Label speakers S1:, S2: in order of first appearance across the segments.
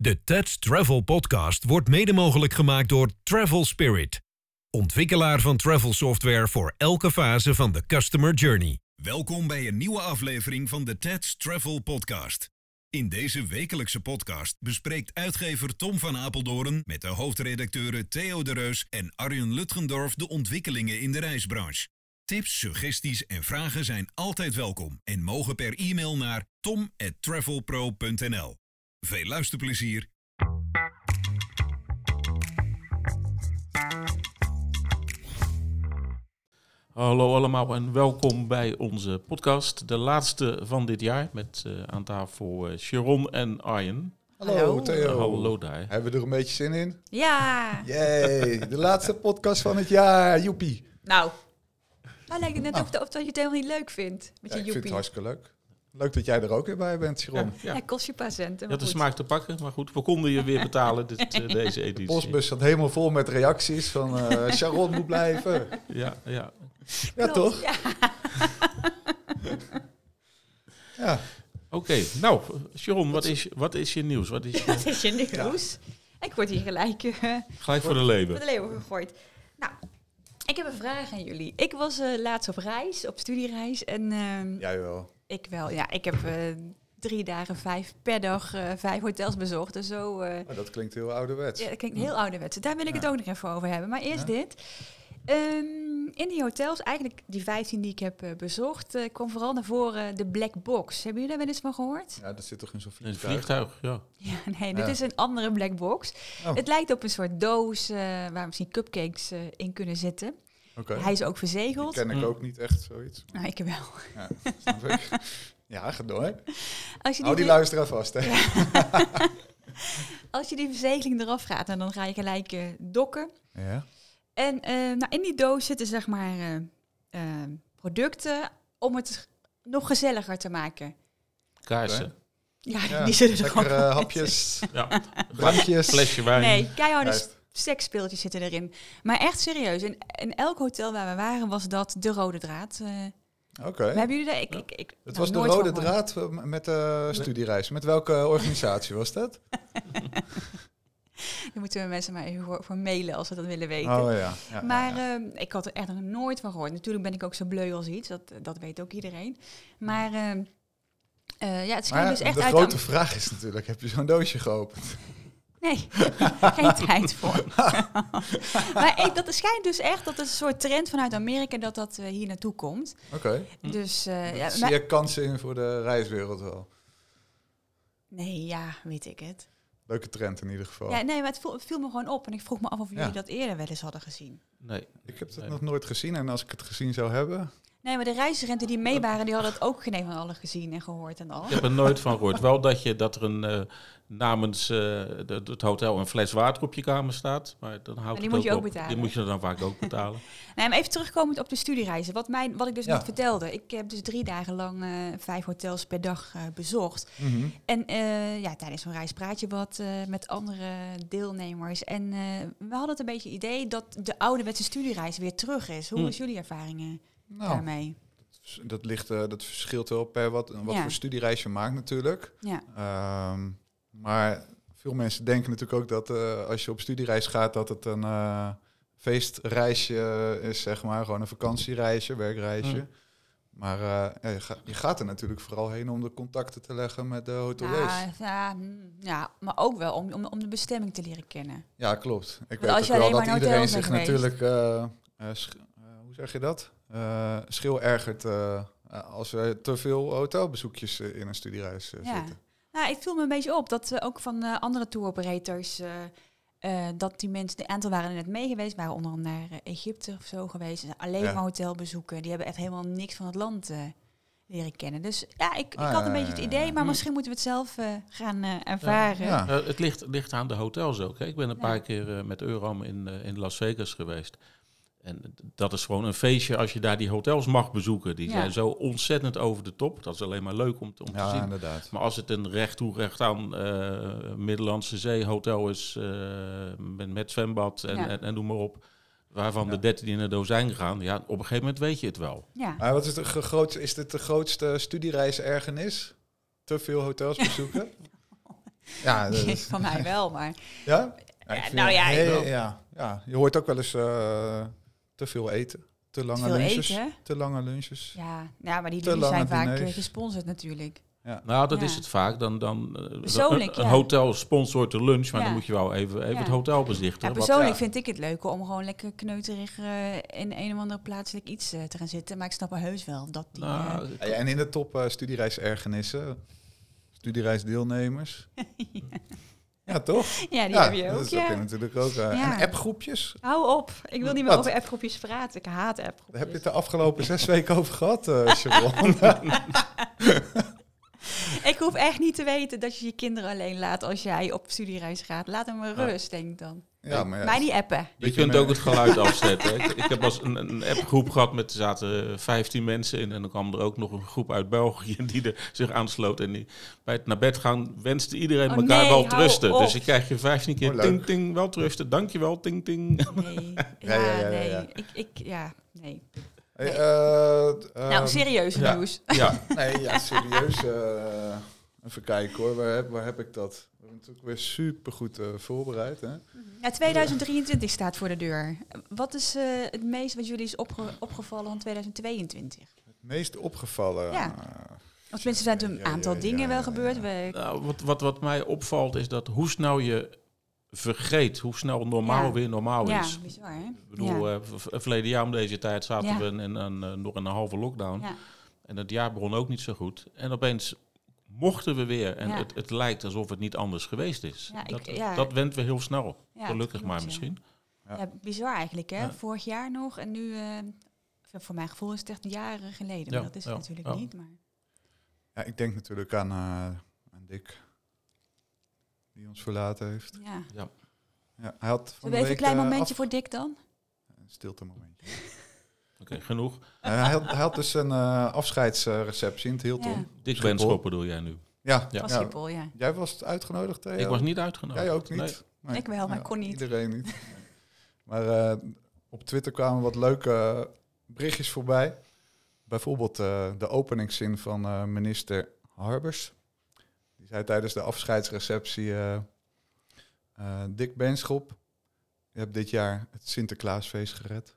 S1: De Touch Travel Podcast wordt mede mogelijk gemaakt door Travel Spirit, ontwikkelaar van travel software voor elke fase van de customer journey. Welkom bij een nieuwe aflevering van de Touch Travel Podcast. In deze wekelijkse podcast bespreekt uitgever Tom van Apeldoorn met de hoofdredacteuren Theo de Reus en Arjen Lutgendorf de ontwikkelingen in de reisbranche. Tips, suggesties en vragen zijn altijd welkom en mogen per e-mail naar tom@travelpro.nl. Veel luisterplezier.
S2: Hallo allemaal en welkom bij onze podcast. De laatste van dit jaar met eh, aan tafel eh, Sharon en Arjen.
S3: Hallo,
S4: Hallo.
S3: Theo.
S2: Hallo daar.
S3: Hebben we er een beetje zin in?
S4: Ja,
S3: Yay, de laatste podcast van het jaar, joepie.
S4: nou. Maar lijkt het net ook of dat je het helemaal niet leuk vindt met
S3: Ah. Ja, ik
S4: je
S3: vind het
S4: joepie.
S3: hartstikke leuk. Leuk dat jij er ook weer bij bent, Sharon.
S2: Ja,
S4: Hij kost je een paar centen,
S2: Je had
S4: maar
S2: de
S4: goed.
S2: smaak te pakken, maar goed, we konden je weer betalen dit, eh, deze
S3: De
S2: editie.
S3: postbus zat helemaal vol met reacties van eh, Sharon moet blijven.
S2: Ja, ja.
S3: Ja,
S4: Klopt,
S3: toch?
S4: Ja.
S3: Ja.
S2: Oké, nou Sharon, wat is, wat is je nieuws? Wat is je,
S4: Dat is je nieuws. Ik word hier gelijk eh,
S2: gelijk voor de
S4: voor
S2: leven.
S4: de leeuwen gegooid. Nou, ik heb een vraag aan jullie. Ik was eh, laatst op reis, op studiereis. En ehm,
S3: Jij wel.
S4: ik wel, ja, ik heb eh, drie dagen, vijf per dag, eh, vijf hotels bezocht. En zo eh,
S3: Maar dat klinkt heel ouderwets.
S4: Ja, dat klinkt heel ouderwets. Daar wil ik
S3: Ja.
S4: het ook nog even over hebben. Maar eerst
S3: Ja.
S4: dit. Ehm, in die hotels, eigenlijk die 15 die ik heb eh, bezocht, eh, kwam vooral naar voren de black box. Hebben jullie daar wel eens van gehoord?
S3: Ja, dat zit toch in zo'n
S2: Een
S3: vliegtuig?
S2: vliegtuig, ja.
S4: Ja, nee, dit
S3: Ja.
S4: is een andere black box.
S3: Oh.
S4: Het lijkt op een soort doos eh, waar misschien cupcakes eh, in kunnen zitten.
S3: Oké.
S4: Hij is ook
S3: Die
S4: verzegeld.
S3: ken ik
S2: Mm.
S3: ook niet echt, zoiets.
S4: Nou, ik wel.
S3: Ja, snap ik. ja ga door. hè.
S4: Als je
S3: Hou die
S4: die, ver-
S3: luisteraar vast, hè.
S4: als je die verzegeling eraf gaat, nou, dan ga je gelijk eh, dokken.
S3: Ja.
S4: En eh, nou, in die doos zitten zeg maar eh, eh, producten om het nog gezelliger te maken.
S2: Kaarsen.
S4: Ja,
S3: Ja,
S4: die zullen er
S3: Lekkere
S4: gewoon
S3: hapjes,
S2: Ja,
S3: drankjes.
S2: flesje wijn.
S4: Nee, keiharde
S3: Juist.
S4: seksspeeltjes zitten erin. Maar echt serieus, in, in elk hotel waar we waren was dat de rode draad. eh.
S3: Oké.
S4: Maar hebben jullie daar... Ik, ik, ik,
S3: Het
S4: nou,
S3: was de
S4: nooit van
S3: rode
S4: gehoord.
S3: draad eh, met de studiereis. Met welke organisatie was dat?
S4: Daar moeten we mensen maar even voor, voor mailen als ze dat willen weten.
S3: Oh ja. ja,
S4: maar
S3: ja, ja.
S4: ehm, ik had er echt nog nooit van gehoord. Natuurlijk ben ik ook zo bleu als iets, dat, dat weet ook iedereen. Maar ehm, eh, ja, het schijnt
S3: Maar
S4: dus echt
S3: de
S4: uit...
S3: grote vraag is natuurlijk, heb je zo'n doosje geopend?
S4: Nee, geen tijd voor. maar ik, dat schijnt dus echt dat het een soort trend vanuit Amerika dat dat eh, hier naartoe komt.
S3: Oké,
S4: Dus eh, ja,
S3: zie
S4: maar-
S3: je kansen in voor de reiswereld wel.
S4: nee, ja, weet ik het.
S3: Leuke trend in ieder geval.
S4: Ja, nee, maar het viel, het viel me gewoon op en ik vroeg me af of jullie
S3: Oh. Ja.
S4: dat eerder wel eens hadden gezien.
S2: Nee.
S3: Ik heb dat
S2: Nee.
S3: nog nooit gezien en als ik het gezien zou hebben...
S4: Nee, maar de reisrenten die mee waren, die hadden het ook geen een van allen gezien en gehoord en al.
S2: Ik heb er nooit van gehoord. Wel dat, je, dat er een, eh, namens eh, de- het hotel een fles water op je kamer staat. Maar dan houdt
S4: die
S2: het
S4: moet je ook
S2: op.
S4: betalen.
S2: Die moet je dan vaak ook betalen.
S4: Nee, maar even terugkomend op de studiereizen. Wat, mijn, wat ik dus
S3: Ja.
S4: net vertelde. Ik heb dus drie dagen lang eh, vijf hotels per dag eh, bezocht.
S3: mhm.
S4: En eh, ja, tijdens zo'n reis praat je wat eh, met andere deelnemers. En eh, we hadden het een beetje idee dat de ouderwetse studiereis weer terug is. Hoe
S2: Hmm.
S4: is jullie ervaringen
S3: Hm. Nou,
S4: daarmee?
S3: s- dat, ligt, eh, dat verschilt wel per wat, wat
S4: Ja.
S3: voor studiereis je maakt natuurlijk.
S4: Ja.
S3: Ehm, maar veel mensen denken natuurlijk ook dat eh, als je op studiereis gaat, dat het een eh, feestreisje is, zeg maar. Gewoon een vakantiereisje, werkreisje.
S2: Mm.
S3: Maar eh, ja, je, ga- je gaat er natuurlijk vooral heen om de contacten te leggen met de hoteliers.
S4: Ja, ja, mm, ja, maar ook wel om, om, om de bestemming te leren kennen.
S3: Ja, klopt. Ik
S4: als
S3: weet
S4: je
S3: ook wel
S4: alleen
S3: dat
S4: maar in
S3: iedereen
S4: hotels
S3: zich
S4: bent geweest.
S3: natuurlijk, eh, eh, sch- eh, hoe zeg je dat? Eh schil ergert eh, eh, als er te veel hotelbezoekjes eh, in een studiereis eh,
S4: Ja.
S3: zitten.
S4: Nou, ik viel me een beetje op dat eh, ook van eh, andere tour operators... eh, eh, dat die mensen, een aantal waren er net mee geweest, waren onder andere naar eh, Egypte of zo geweest. En Alleen
S3: Ja.
S4: maar hotelbezoeken. Die hebben echt helemaal niks van het land eh, leren kennen. Dus ja, ik, ik
S3: Ah,
S4: had
S3: ja,
S4: een beetje
S3: ja,
S4: het
S3: ja,
S4: idee,
S3: ja.
S4: maar misschien moeten we het zelf eh, gaan eh, ervaren.
S3: Ja.
S2: Eh, het ligt, ligt aan de hotels ook. Hè. Ik ben een
S4: Ja.
S2: paar keer eh, met Euram in, eh, in Las Vegas geweest. En dat is gewoon een feestje als je daar die hotels mag bezoeken. Die
S4: Ja.
S2: zijn zo ontzettend over de top. Dat is alleen maar leuk om, te- om te
S3: Ja,
S2: zien.
S3: inderdaad.
S2: Maar als het een recht toe recht aan eh, Middellandse Zeehotel is, eh, met, met zwembad en,
S4: Ja.
S2: en, en noem maar op, waarvan
S3: Ja.
S2: de 13 in een dozijn gaan, ja, op een gegeven moment weet je het wel.
S4: Ja.
S3: Maar wat is, de ge- groot, is dit de grootste studiereis ergernis? Te veel hotels bezoeken? Ja, dat is-
S4: Van mij wel, maar
S3: ja?
S4: Ja,
S3: ik vind-
S4: nou ja, ik
S3: ja,
S4: wil-
S3: ja, ja. je hoort ook wel eens eh, te veel eten. Te lange
S4: veel
S3: lunches.
S4: eten.
S3: Te lange lunches.
S4: Ja, nou, maar die
S3: Te
S4: jullie
S3: lange
S4: zijn vaak
S3: diners.
S4: eh, gesponsord natuurlijk.
S2: Nou, dat
S4: Ja.
S2: is het vaak. Dan, dan, eh,
S4: Persoonlijk,
S2: een, een
S4: ja.
S2: hotel sponsort de lunch, maar
S4: Ja.
S2: dan moet je wel even, even
S4: Ja.
S2: het hotel bezichten.
S4: Ja,
S2: Wat-
S4: persoonlijk
S3: ja.
S4: vind ik het leuker om gewoon lekker kneuterig eh, in een of andere plaatselijk iets eh, te gaan zitten. Maar ik snap wel heus wel dat die... eh,
S2: nou,
S3: Ja, en in de top eh, studiereisergenissen. Studiereisdeelnemers. ja. toch?
S4: ja, die heb je
S3: dat
S4: ook,
S3: is- dat
S4: ja.
S3: heb je natuurlijk ook. eh,
S4: Ja.
S3: En appgroepjes.
S4: Hou op, ik wil niet meer
S3: Wat?
S4: over appgroepjes praten. Ik haat appgroepjes.
S3: Daar heb je het de afgelopen zes weken over gehad, eh Sharon.
S4: Ik hoef echt niet te weten dat je je kinderen alleen laat als jij op studiereis gaat. Laat hem maar
S2: Ja.
S4: rust, denk ik dan.
S3: ja, maar ja,
S4: Mij niet appen.
S2: je kunt ook het geluid afzetten. hè. Ik, ik heb als een, een appgroep gehad met er zaten 15 mensen in. En dan kwam er ook nog een groep uit België die er zich aansloot. En die, bij het naar bed gaan wenste iedereen
S4: Oh
S2: elkaar
S4: nee,
S2: wel
S4: hou
S2: trusten.
S4: op.
S2: Dus dan krijg je 15 keer
S3: Oh, leuk.
S2: ting ting wel trusten. Dankjewel ting ting.
S4: Nee,
S3: Ja,
S4: ja,
S3: ja, ja, ja,
S4: nee.
S3: ja.
S4: Ik, ik, ja, nee.
S3: Hey, eh,
S4: nou,
S3: ehm,
S4: serieus
S2: ja.
S4: nieuws.
S2: Ja,
S3: Nee, ja, serieus. eh, even kijken hoor, waar heb, waar heb ik dat? We hebben natuurlijk weer supergoed eh, voorbereid. Hè?
S4: Ja, 2023 staat voor de deur. Wat is eh, het meest wat jullie is opge- opgevallen van 2022?
S3: Het meest opgevallen.
S4: Ja.
S3: eh,
S4: Want tenminste zijn er
S3: Ja,
S4: een
S3: ja,
S4: aantal
S3: ja,
S4: dingen
S3: ja,
S4: wel
S3: ja.
S4: gebeurd. We-
S2: Nou, wat, wat, wat mij opvalt is dat hoe snel je vergeet, hoe snel normaal
S4: Ja.
S2: weer normaal
S4: ja,
S2: Oh, is.
S4: bizar hè?
S2: Ik bedoel,
S4: ja.
S2: eh, v- v- verleden jaar om deze tijd zaten
S4: Ja.
S2: we in, in een, eh, nog in een halve lockdown.
S4: Ja.
S2: En het jaar begon ook niet zo goed. En opeens mochten we weer. En
S4: Ja.
S2: het, het lijkt alsof het niet anders geweest is.
S4: Ja, ik-
S2: dat,
S4: ja.
S2: dat went weer heel snel.
S4: Ja,
S2: Gelukkig
S4: klopt,
S2: maar
S4: ja.
S2: misschien.
S3: Ja.
S4: Ja, bizar eigenlijk hè?
S2: Ja.
S4: Vorig jaar nog en nu, eh, voor mijn gevoel is het echt jaren
S2: Ja,
S4: geleden. Maar dat is het
S2: ja,
S4: natuurlijk
S2: ja.
S4: niet. Maar
S3: ja, ik denk natuurlijk aan, eh, aan Dick, die ons verlaten heeft.
S4: ja.
S3: Ja, hij had van de
S4: Zullen we even
S3: week,
S4: een klein
S3: eh,
S4: momentje
S3: af-
S4: voor Dick dan?
S3: Een stilte momentje.
S2: Oké, genoeg.
S3: Eh, hij, had, hij had dus een eh, afscheidsreceptie in het Hilton.
S4: Ja.
S3: Ja,
S2: Dit
S3: Schiphol.
S2: wenschop bedoel jij nu.
S3: ja,
S2: Ja.
S4: Van Schiphol, ja.
S3: Jij was uitgenodigd, hè?
S2: Ik was niet uitgenodigd.
S3: Jij ook niet?
S2: Nee.
S3: Nee.
S4: Ik wel, maar ik kon niet.
S3: Iedereen niet. maar eh, op Twitter kwamen wat leuke eh, berichtjes voorbij. Bijvoorbeeld eh, de openingszin van eh, minister Harbers. Die zei tijdens de afscheidsreceptie... eh, eh, Dick Benschop, je hebt dit jaar het Sinterklaasfeest gered.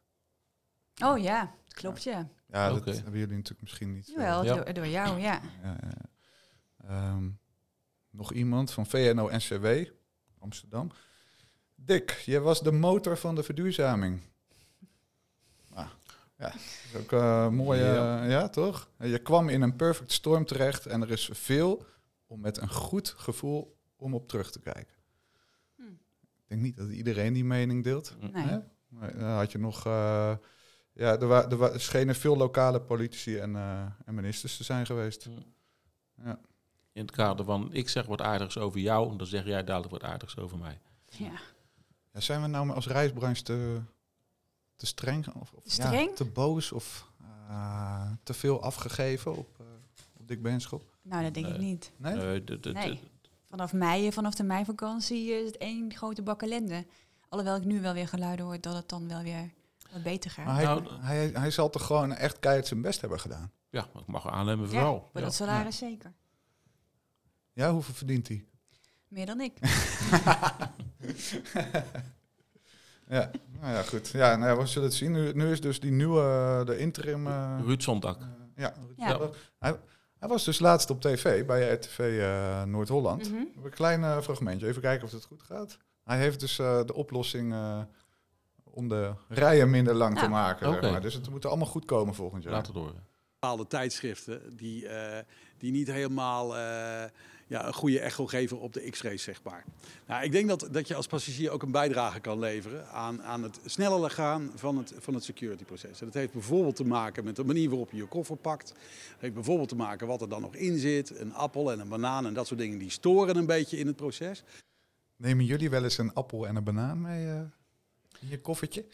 S4: Oh ja, klopt ja.
S3: Ja,
S2: Oké.
S3: dat hebben jullie natuurlijk misschien niet. eh,
S4: Jawel,
S2: Ja.
S4: Door, door jou, ja.
S3: Ja, ja. Ehm, nog iemand van VNO-NCW, Amsterdam. Dick, jij was de motor van de verduurzaming. Ah, ja, dat is ook eh mooi, eh,
S2: Ja.
S3: ja. toch? Je kwam in een perfect storm terecht en er is veel om met een goed gevoel om op terug te kijken.
S4: Hm.
S3: Ik denk niet dat iedereen die mening deelt.
S4: Nee.
S3: Hè? Maar, eh, had je nog. eh, ja, er, wa- er wa- schenen veel lokale politici en, eh, en ministers te zijn geweest.
S2: In het kader van ik zeg wat aardigs over jou. En dan zeg jij dadelijk wat aardigs over mij.
S4: ja.
S3: Ja, zijn we nou als reisbranche te, te streng? Of, of
S4: Te streng?
S3: Ja, te boos of eh, te veel afgegeven op, eh op Dick Benschop?
S4: Nou, dat denk ik
S2: Nee.
S4: niet.
S3: Nee?
S2: Nee, d- d- d-
S4: Nee. Vanaf mei, eh, vanaf de meivakantie eh, is het één grote bak ellende. Alhoewel ik nu wel weer geluiden hoor dat het dan wel weer wat beter gaat.
S3: Maar hij,
S2: Nou,
S3: hij, hij zal toch gewoon echt keihard zijn best hebben gedaan?
S2: Ja, ik mag aannemen
S4: ja,
S2: vooral.
S4: maar dat salaris zeker.
S3: Ja, hoeveel verdient hij?
S4: Meer dan ik.
S3: Ja, nou ja, goed. Ja, nou ja, we zullen het zien. Nu, nu is dus die nieuwe, eh, de interim... eh,
S2: Ruud Zondag.
S3: Ja.
S4: Ja.
S3: Hij, hij was dus laatst op tv bij RTV eh, Noord-Holland.
S4: Mhm.
S3: We hebben Een klein eh, fragmentje, even kijken of het goed gaat. Hij heeft dus eh, de oplossing eh, om de rijen minder lang
S4: Ja.
S3: te maken. zeg
S2: Oké.
S3: maar. Dus het moet allemaal goed komen volgend jaar.
S2: Laat het horen.
S5: bepaalde tijdschriften die, eh, die niet helemaal eh, ja, een goede echo geven op de x-rays, zeg maar. Nou, ik denk dat, dat je als passagier ook een bijdrage kan leveren aan, aan het sneller gaan van het, van het security-proces. En dat heeft bijvoorbeeld te maken met de manier waarop je je koffer pakt. Dat heeft bijvoorbeeld te maken wat er dan nog in zit. Een appel en een banaan en dat soort dingen, die storen een beetje in het proces.
S3: Nemen jullie wel eens een appel en een banaan mee eh, in je koffertje?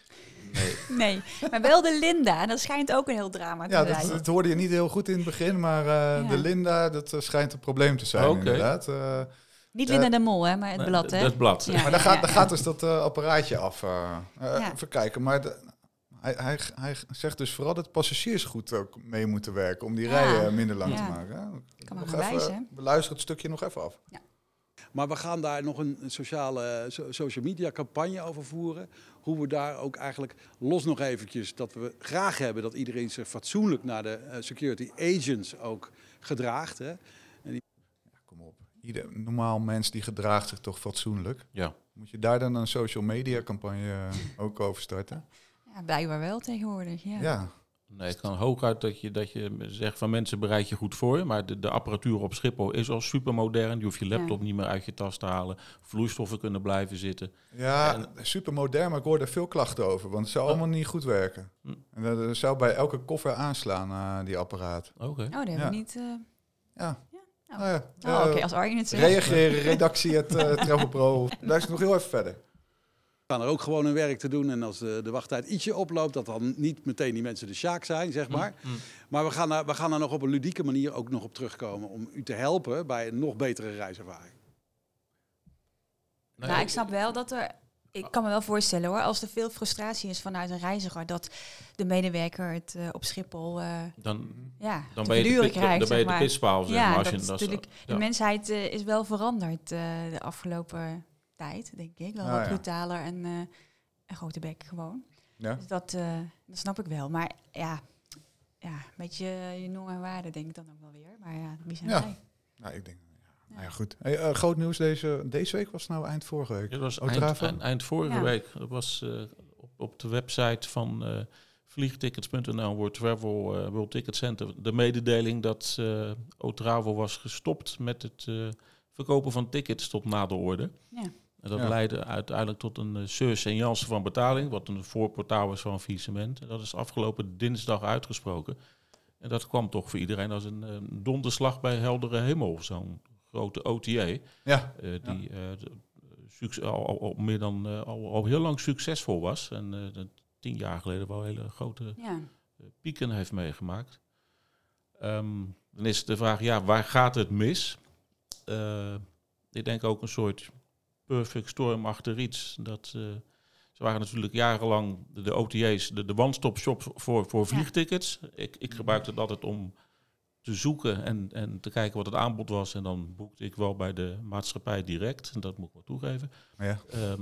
S3: Nee.
S4: Nee, maar wel de Linda. En dat schijnt ook een heel drama te
S3: Ja, dat,
S4: zijn.
S3: dat hoorde je niet heel goed in het begin, maar eh,
S4: Ja.
S3: de Linda, dat eh, schijnt een probleem te zijn
S2: Oké.
S3: inderdaad. Eh,
S4: Niet
S3: Ja.
S4: Linda de Mol, hè, maar het
S2: Nee,
S4: blad.
S2: d-
S4: Hè?
S2: dat blad.
S4: Ja,
S3: Maar daar, gaat,
S4: ja,
S3: daar
S4: ja.
S3: gaat dus dat eh, apparaatje af. eh. Eh,
S4: Ja.
S3: Even kijken. Maar de- hij, hij, hij zegt dus vooral dat passagiers goed ook mee moeten werken om die
S4: Ja.
S3: rijen eh, minder lang
S4: Ja.
S3: te maken. hè.
S4: Kan maar
S3: Nog
S4: gaan
S3: even-
S4: wijzen.
S3: We luisteren het stukje nog even af.
S5: Maar we gaan daar nog een sociale, eh, so- social media campagne over voeren. Hoe we daar ook eigenlijk los nog eventjes dat we graag hebben dat iedereen zich fatsoenlijk naar de eh, security agents ook gedraagt. Hè.
S3: Ja, kom op. Ieder normaal mens die gedraagt zich toch fatsoenlijk.
S2: Ja.
S3: Moet je daar dan een social media campagne eh, ook over starten?
S4: Ja, blijkbaar wel tegenwoordig. Ja.
S3: Ja.
S2: Nee, ik kan hooguit dat je, dat je zegt van mensen bereid je goed voor. Maar de, de apparatuur op Schiphol is al supermodern. Je hoeft je laptop
S4: Ja.
S2: niet meer uit je tas te halen. Vloeistoffen kunnen blijven zitten.
S3: Ja, super modern, maar ik hoor er veel klachten over, want het zou allemaal niet goed werken.
S2: Hm.
S3: En dat eh, zou bij elke koffer aanslaan, eh, die apparaat.
S2: Oké. Nou
S4: Oh, daar hebben
S3: Ja.
S4: we niet... eh,
S3: Ja.
S4: Ja,
S3: Nou ja,
S4: oh, oké,
S3: eh,
S4: als Arjen het zegt.
S3: reageren, redactie, het eh, Travel Pro. Luister nog heel even verder.
S5: We gaan er ook gewoon hun werk te doen. En als de, de wachttijd ietsje oploopt, dat dan niet meteen die mensen de sjaak zijn, zeg maar. Maar we gaan, daar, we gaan daar nog op een ludieke manier ook nog op terugkomen. Om u te helpen bij een nog betere reiservaring.
S2: Nee,
S4: nou, ik snap wel dat er. Ik kan me wel voorstellen hoor, als er veel frustratie is vanuit een reiziger, dat de medewerker het eh, op Schiphol eh,
S2: Dan,
S4: ja,
S2: dan
S4: te
S2: ben je de,
S4: verduren
S2: pit-
S4: krijgt.
S2: dan ben je de
S4: zeg maar.
S2: pispaal, zeg
S4: ja,
S2: maar. Als
S4: dat
S2: je,
S4: is
S2: dat is-
S4: natuurlijk, de
S2: ja.
S4: mensheid eh, is wel veranderd eh, de afgelopen tijd, denk ik. Wel
S3: Nou
S4: wat
S3: ja.
S4: brutaler en eh, een grote bek gewoon.
S3: Ja.
S4: Dus dat, eh, dat snap ik wel. Maar ja, ja een beetje eh, je normen en waarden denk ik dan ook wel weer. Maar ja, wie zijn
S3: Ja.
S4: wij?
S3: Nou, ik denk, ja, nou ja goed. Hey, eh, groot nieuws deze, deze week was het nou eind vorige week.
S2: Dit was
S3: Ook
S2: eind,
S3: daarvan?
S2: eind, eind vorige
S4: Ja.
S2: week. Dat was eh, op, op de website van eh, vliegtickets.nl wordt Travel eh, World Ticket Center de mededeling dat eh Otravel was gestopt met het eh, verkopen van tickets tot na de orde.
S4: Ja.
S2: En dat
S3: Ja.
S2: leidde uiteindelijk tot een eh, surse en jansen van betaling, wat een voorportaal is van een faillissement. En Dat is afgelopen dinsdag uitgesproken. En dat kwam toch voor iedereen als een eh, donderslag bij heldere hemel, zo'n grote OTA.
S3: Ja,
S2: Eh, die eh, de- succes- al, al- al meer dan eh, al, al heel lang succesvol was. En eh, dat tien jaar geleden wel hele grote
S4: Ja.
S2: eh, pieken heeft meegemaakt. Ehm, dan is de vraag, ja, waar gaat het mis? Eh, ik denk ook een soort perfect storm achter iets. Dat, eh, ze waren natuurlijk jarenlang de, de OTA's, de, de one-stop shop voor, voor
S4: Ja.
S2: vliegtickets. Ik, ik gebruikte dat altijd om te zoeken en, en te kijken wat het aanbod was. En dan boekte ik wel bij de maatschappij direct. En dat moet ik wel toegeven.
S3: ja.
S2: Ehm,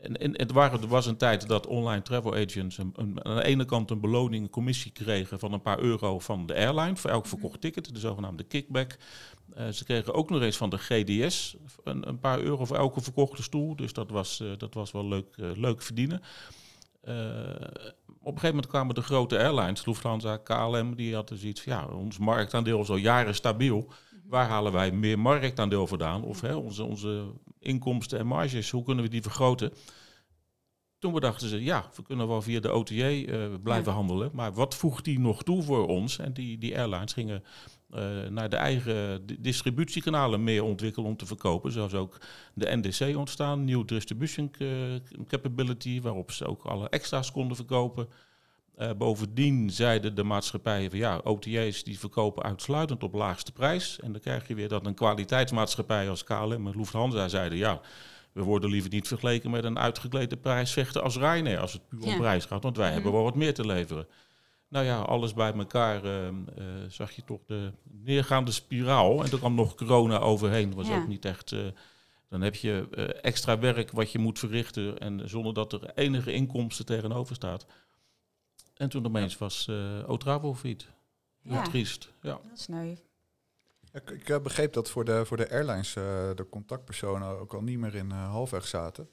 S2: en, en het waren, er was een tijd dat online travel agents een, een- aan de ene kant een beloning, een commissie kregen van een paar euro van de airline voor elk verkocht ticket, de zogenaamde kickback. Eh, ze kregen ook nog eens van de GDS een, een paar euro voor elke verkochte stoel, dus dat was, eh, dat was wel leuk, eh, leuk verdienen. Eh, op een gegeven moment kwamen de grote airlines, Lufthansa, KLM, die hadden zoiets van ja, ons marktaandeel is al jaren stabiel. Waar halen wij meer marktaandeel vandaan? Of hè, onze, onze inkomsten en marges, hoe kunnen we die vergroten? Toen bedachten ze, ja, we kunnen wel via de OTA eh, blijven handelen, maar wat voegt die nog toe voor ons? En die, die airlines gingen eh, naar de eigen di- distributiekanalen meer ontwikkelen om te verkopen. Zoals ook de NDC ontstaan, New Distribution eh, Capability, waarop ze ook alle extra's konden verkopen. Eh, bovendien zeiden de maatschappijen van ja, OTA's die verkopen uitsluitend op laagste prijs. En dan krijg je weer dat een kwaliteitsmaatschappij als KLM en Lufthansa zeiden ja, we worden liever niet vergeleken met een uitgeklede prijsvechter als Ryanair als het puur om
S4: Ja.
S2: prijs gaat, want wij
S4: Mhm.
S2: hebben wel wat meer te leveren. Nou ja, alles bij elkaar eh, eh, zag je toch de neergaande spiraal. En er kwam nog corona overheen, was
S4: Ja.
S2: ook niet echt... eh, dan heb je eh, extra werk wat je moet verrichten en zonder dat er enige inkomsten tegenover staat. En toen opeens was eh Otravo fiet. Heel
S4: Ja.
S2: triest. Ja.
S4: Dat is sneu.
S3: Ik, ik eh, begreep dat voor de, voor de airlines eh, de contactpersonen ook al niet meer in eh, halfweg zaten.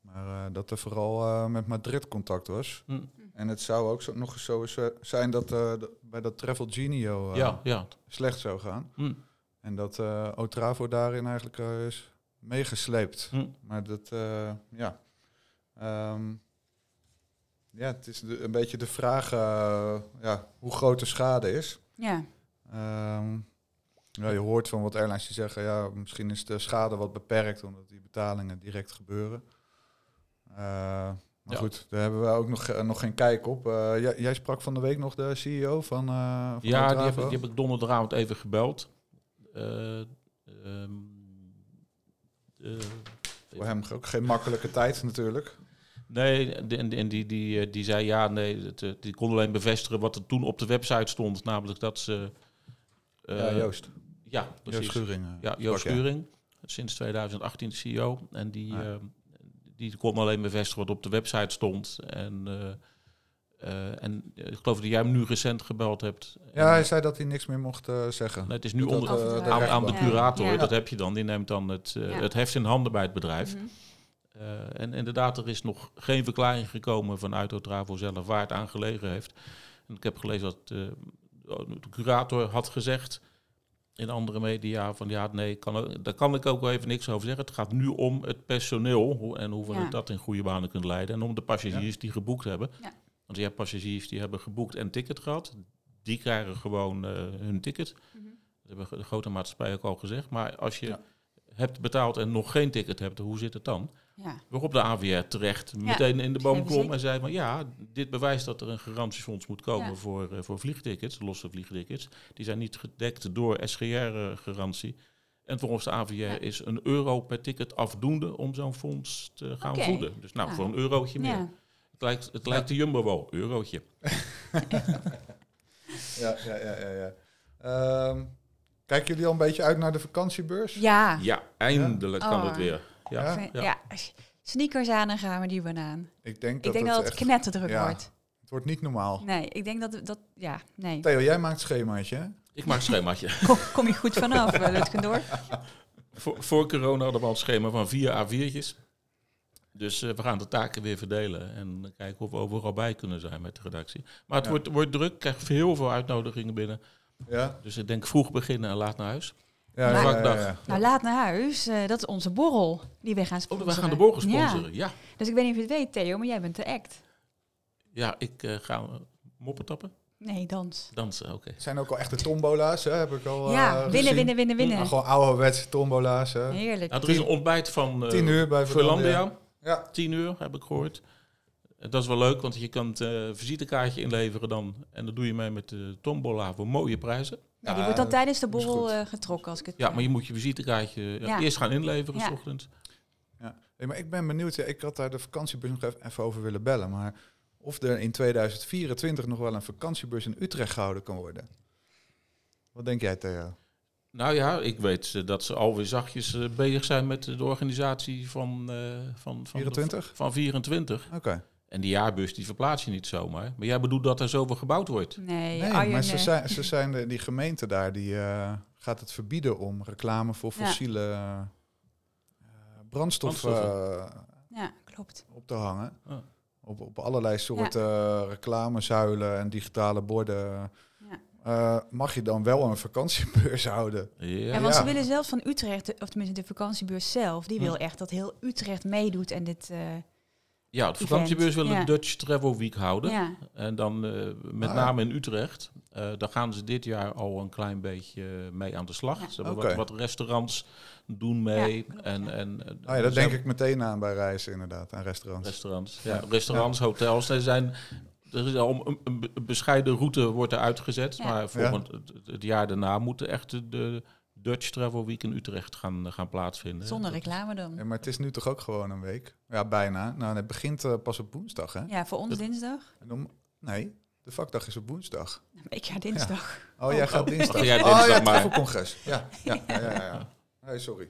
S3: Maar eh, dat er vooral eh, met Madrid contact was.
S2: Hm.
S3: En het zou ook zo, nog eens zo eens, eh, zijn dat eh, de- bij dat Travel Genio eh,
S2: ja, ja.
S3: slecht zou gaan.
S2: Hm.
S3: En dat eh Otravo daarin eigenlijk eh, is meegesleept.
S2: Hm.
S3: Maar dat, eh, ja. Ehm, ja, het is de- een beetje de vraag eh, ja, hoe groot de schade is.
S4: Ja.
S3: Ehm, ja, je hoort van wat airlines die zeggen, ja, misschien is de schade wat beperkt omdat die betalingen direct gebeuren. Eh, maar
S2: Ja.
S3: goed, daar hebben we ook nog, eh, nog geen kijk op. Eh, jij, jij sprak van de week nog de CEO van, eh van
S2: Ja, die heb,
S3: Otravo.
S2: ik- die heb ik donderdagavond even gebeld. Eh, ehm, eh,
S3: Voor hem ook geen makkelijke tijd natuurlijk.
S2: nee, en die, en die- en die, die, eh, die zei ja, nee, het, eh, die kon alleen bevestigen wat er toen op de website stond. Namelijk dat ze... eh,
S3: ja, Joost.
S2: Ja, precies.
S3: Joost Schuring. eh,
S2: Ja,
S3: sprak
S2: Joost
S3: jij.
S2: Schuring. sinds 2018 de CEO. En die, eh, die kon alleen bevestigen wat op de website stond. En, eh, eh, en ik geloof dat jij hem nu recent gebeld hebt.
S3: Ja, hij zei dat hij niks meer mocht eh, zeggen.
S2: En het is nu
S3: Dat,
S2: onder,
S3: eh,
S4: Overdragen.
S3: de
S2: aan, aan de
S3: rechtbank.
S2: curator,
S4: Ja.
S2: dat heb je dan. Die neemt dan het, eh,
S4: Ja.
S2: het heft in handen bij het bedrijf.
S4: Mhm.
S2: Eh, en inderdaad, er is nog geen verklaring gekomen vanuit Otravo zelf waar het aan gelegen heeft. En ik heb gelezen dat eh, de curator had gezegd in andere media van ja, nee, kan, ook- daar kan ik ook wel even niks over zeggen. Het gaat nu om het personeel hoe- en hoe we
S4: Ja.
S2: dat in goede banen kunnen leiden. En om de passagiers die geboekt hebben.
S4: Ja.
S2: Want je hebt passagiers die hebben geboekt en ticket gehad. Die krijgen gewoon eh, hun ticket.
S4: Mhm.
S2: Dat hebben de grote maatschappij ook al gezegd. Maar als je
S3: Ja.
S2: hebt betaald en nog geen ticket hebt, hoe zit het dan?
S4: Ja.
S2: Waarop de AVR terecht meteen in de boom
S4: hebben
S2: klom
S4: ze.
S2: en zei van ja, dit bewijst dat er een garantiefonds moet komen
S4: Ja.
S2: voor, eh, voor vliegtickets, losse vliegtickets. Die zijn niet gedekt door SGR-garantie. eh, En volgens de AVR is een euro per ticket afdoende om zo'n fonds te gaan
S4: Oké.
S2: voeden. Dus nou,
S4: Ja.
S2: voor een eurotje meer.
S4: Ja.
S2: Het lijkt, het lijkt de Jumbo wel, eurotje.
S3: Ja, ja, ja, ja. ja. Ehm, kijken jullie al een beetje uit naar de vakantiebeurs?
S4: Ja.
S2: Ja, eindelijk
S4: Ah. Ja.
S2: kan
S4: Oh.
S2: het weer. Ja.
S3: Ja.
S4: Ja. Sneakers aan en gaan we die banaan.
S3: Ik denk dat
S4: Ik denk
S3: het
S4: dat het
S3: echt...
S4: knetterdruk
S3: ja.
S4: wordt.
S3: Het wordt niet normaal.
S4: Nee, ik denk dat... dat ja, nee.
S3: Theo, jij maakt schemaatje, hè?
S2: Ik maak een schemaatje.
S4: Kom, kom je goed vanaf, eh, Lutgendorp.
S2: voor, voor corona hadden we al een schema van vier A4'tjes. Dus eh, we gaan de taken weer verdelen en kijken of we overal bij kunnen zijn met de redactie. Maar het
S3: Ja.
S2: wordt, wordt druk, ik krijg heel veel uitnodigingen binnen.
S3: Ja.
S2: Dus ik denk vroeg beginnen en laat naar huis.
S3: Ja,
S4: Maar-
S3: ja, ja, ja.
S2: Vakdag.
S4: Nou, laat naar huis. eh, dat is onze borrel die we gaan
S2: Oh,
S4: sponsoren.
S2: we gaan de borgen
S4: Ja.
S2: sponsoren. Ja, ja.
S4: Dus ik weet niet of je het weet, Theo, maar jij bent de act.
S2: ik eh, ga eh, moppen tappen,
S4: Nee, dans.
S2: dansen, oké.
S3: Het zijn ook al echte tombola's, hè? Heb ik al eh,
S4: ja, winnen,
S3: gezien.
S4: winnen, winnen, winnen.
S3: Nou, gewoon ouderwetse tombola's, hè?
S4: Heerlijk.
S2: Nou, er is een ontbijt van eh,
S3: Tien uur bij Verlandia.
S2: Verlandia,
S3: Ja.
S2: 10 uur heb ik gehoord. Eh, Dat is wel leuk, want je kunt eh, een visitekaartje inleveren dan. En dat doe je mee met de tombola voor mooie prijzen.
S4: Ja, die wordt dan tijdens de
S3: dat is
S4: borrel
S3: goed.
S4: eh, getrokken, als ik het...
S2: Ja, maar je moet je visitekaartje eh,
S4: Ja.
S2: eerst gaan inleveren
S4: Ja.
S2: s ochtends.
S3: Nee, maar ik ben benieuwd. ja, Ik had daar de vakantiebus nog even even over willen bellen. Maar of er in 2024 nog wel een vakantiebus in Utrecht gehouden kan worden. Wat denk jij, Theo?
S2: Nou ja, ik weet eh, dat ze alweer zachtjes eh, bezig zijn met de organisatie van, eh, van, van,
S3: 24?
S2: van 24.
S3: Oké.
S2: En die jaarbus die verplaats je niet zomaar. Maar jij bedoelt dat er zoveel gebouwd wordt.
S4: Nee,
S3: Nee,
S4: Arjen,
S3: maar ze
S4: eh,
S3: zijn, ze zijn de- die gemeente daar, die eh, gaat het verbieden om reclame voor
S4: Ja.
S3: fossiele eh, brandstoffen eh,
S4: Ja, klopt.
S3: op te hangen.
S2: Ah.
S3: Op, op allerlei soorten eh, reclamezuilen en digitale borden.
S4: Ja.
S3: Eh, mag je dan wel een vakantiebeurs houden?
S2: Ja.
S4: Ja, want
S3: ja.
S4: ze willen zelfs van Utrecht, eh, of tenminste de vakantiebeurs zelf, die
S2: Hm.
S4: wil echt dat heel Utrecht meedoet en dit... eh,
S2: ja, de vakantiebeurs willen
S4: Ja.
S2: een Dutch Travel Week houden.
S4: ja,
S2: En dan eh, met
S3: Ah, ja.
S2: name in Utrecht. Eh daar gaan ze dit jaar al een klein beetje eh, mee aan de slag.
S4: Ja.
S2: Ze hebben
S3: Oké.
S2: wat, wat restaurants doen mee.
S4: Ja, klopt,
S2: en,
S4: ja.
S2: en, eh,
S3: Nou ja, dat
S2: ze
S3: denk ik meteen aan bij reizen inderdaad, aan restaurants.
S2: Restaurants.
S3: Ja.
S2: Ja. Restaurants, hotels. Er, zijn, er is al een, een be- bescheiden route wordt er uitgezet.
S4: Ja.
S2: Maar volgend het, het jaar daarna moeten echt de, de Dutch Travel Week in Utrecht gaan, gaan plaatsvinden.
S4: zonder reclame dan.
S3: Ja, maar het is nu toch ook gewoon een week? Ja, bijna. Nou, het begint eh, pas op woensdag, hè?
S4: Ja, voor ons
S2: Dat-
S4: dinsdag.
S3: En om, nee, de vakdag is op woensdag.
S4: Ik ga dinsdag.
S3: Oh, jij gaat dinsdag.
S2: Ga jij
S3: oh,
S2: dinsdag
S3: ja,
S2: maar.
S3: voor congres. Ja, ja, ja, ja. ja. Hey, sorry.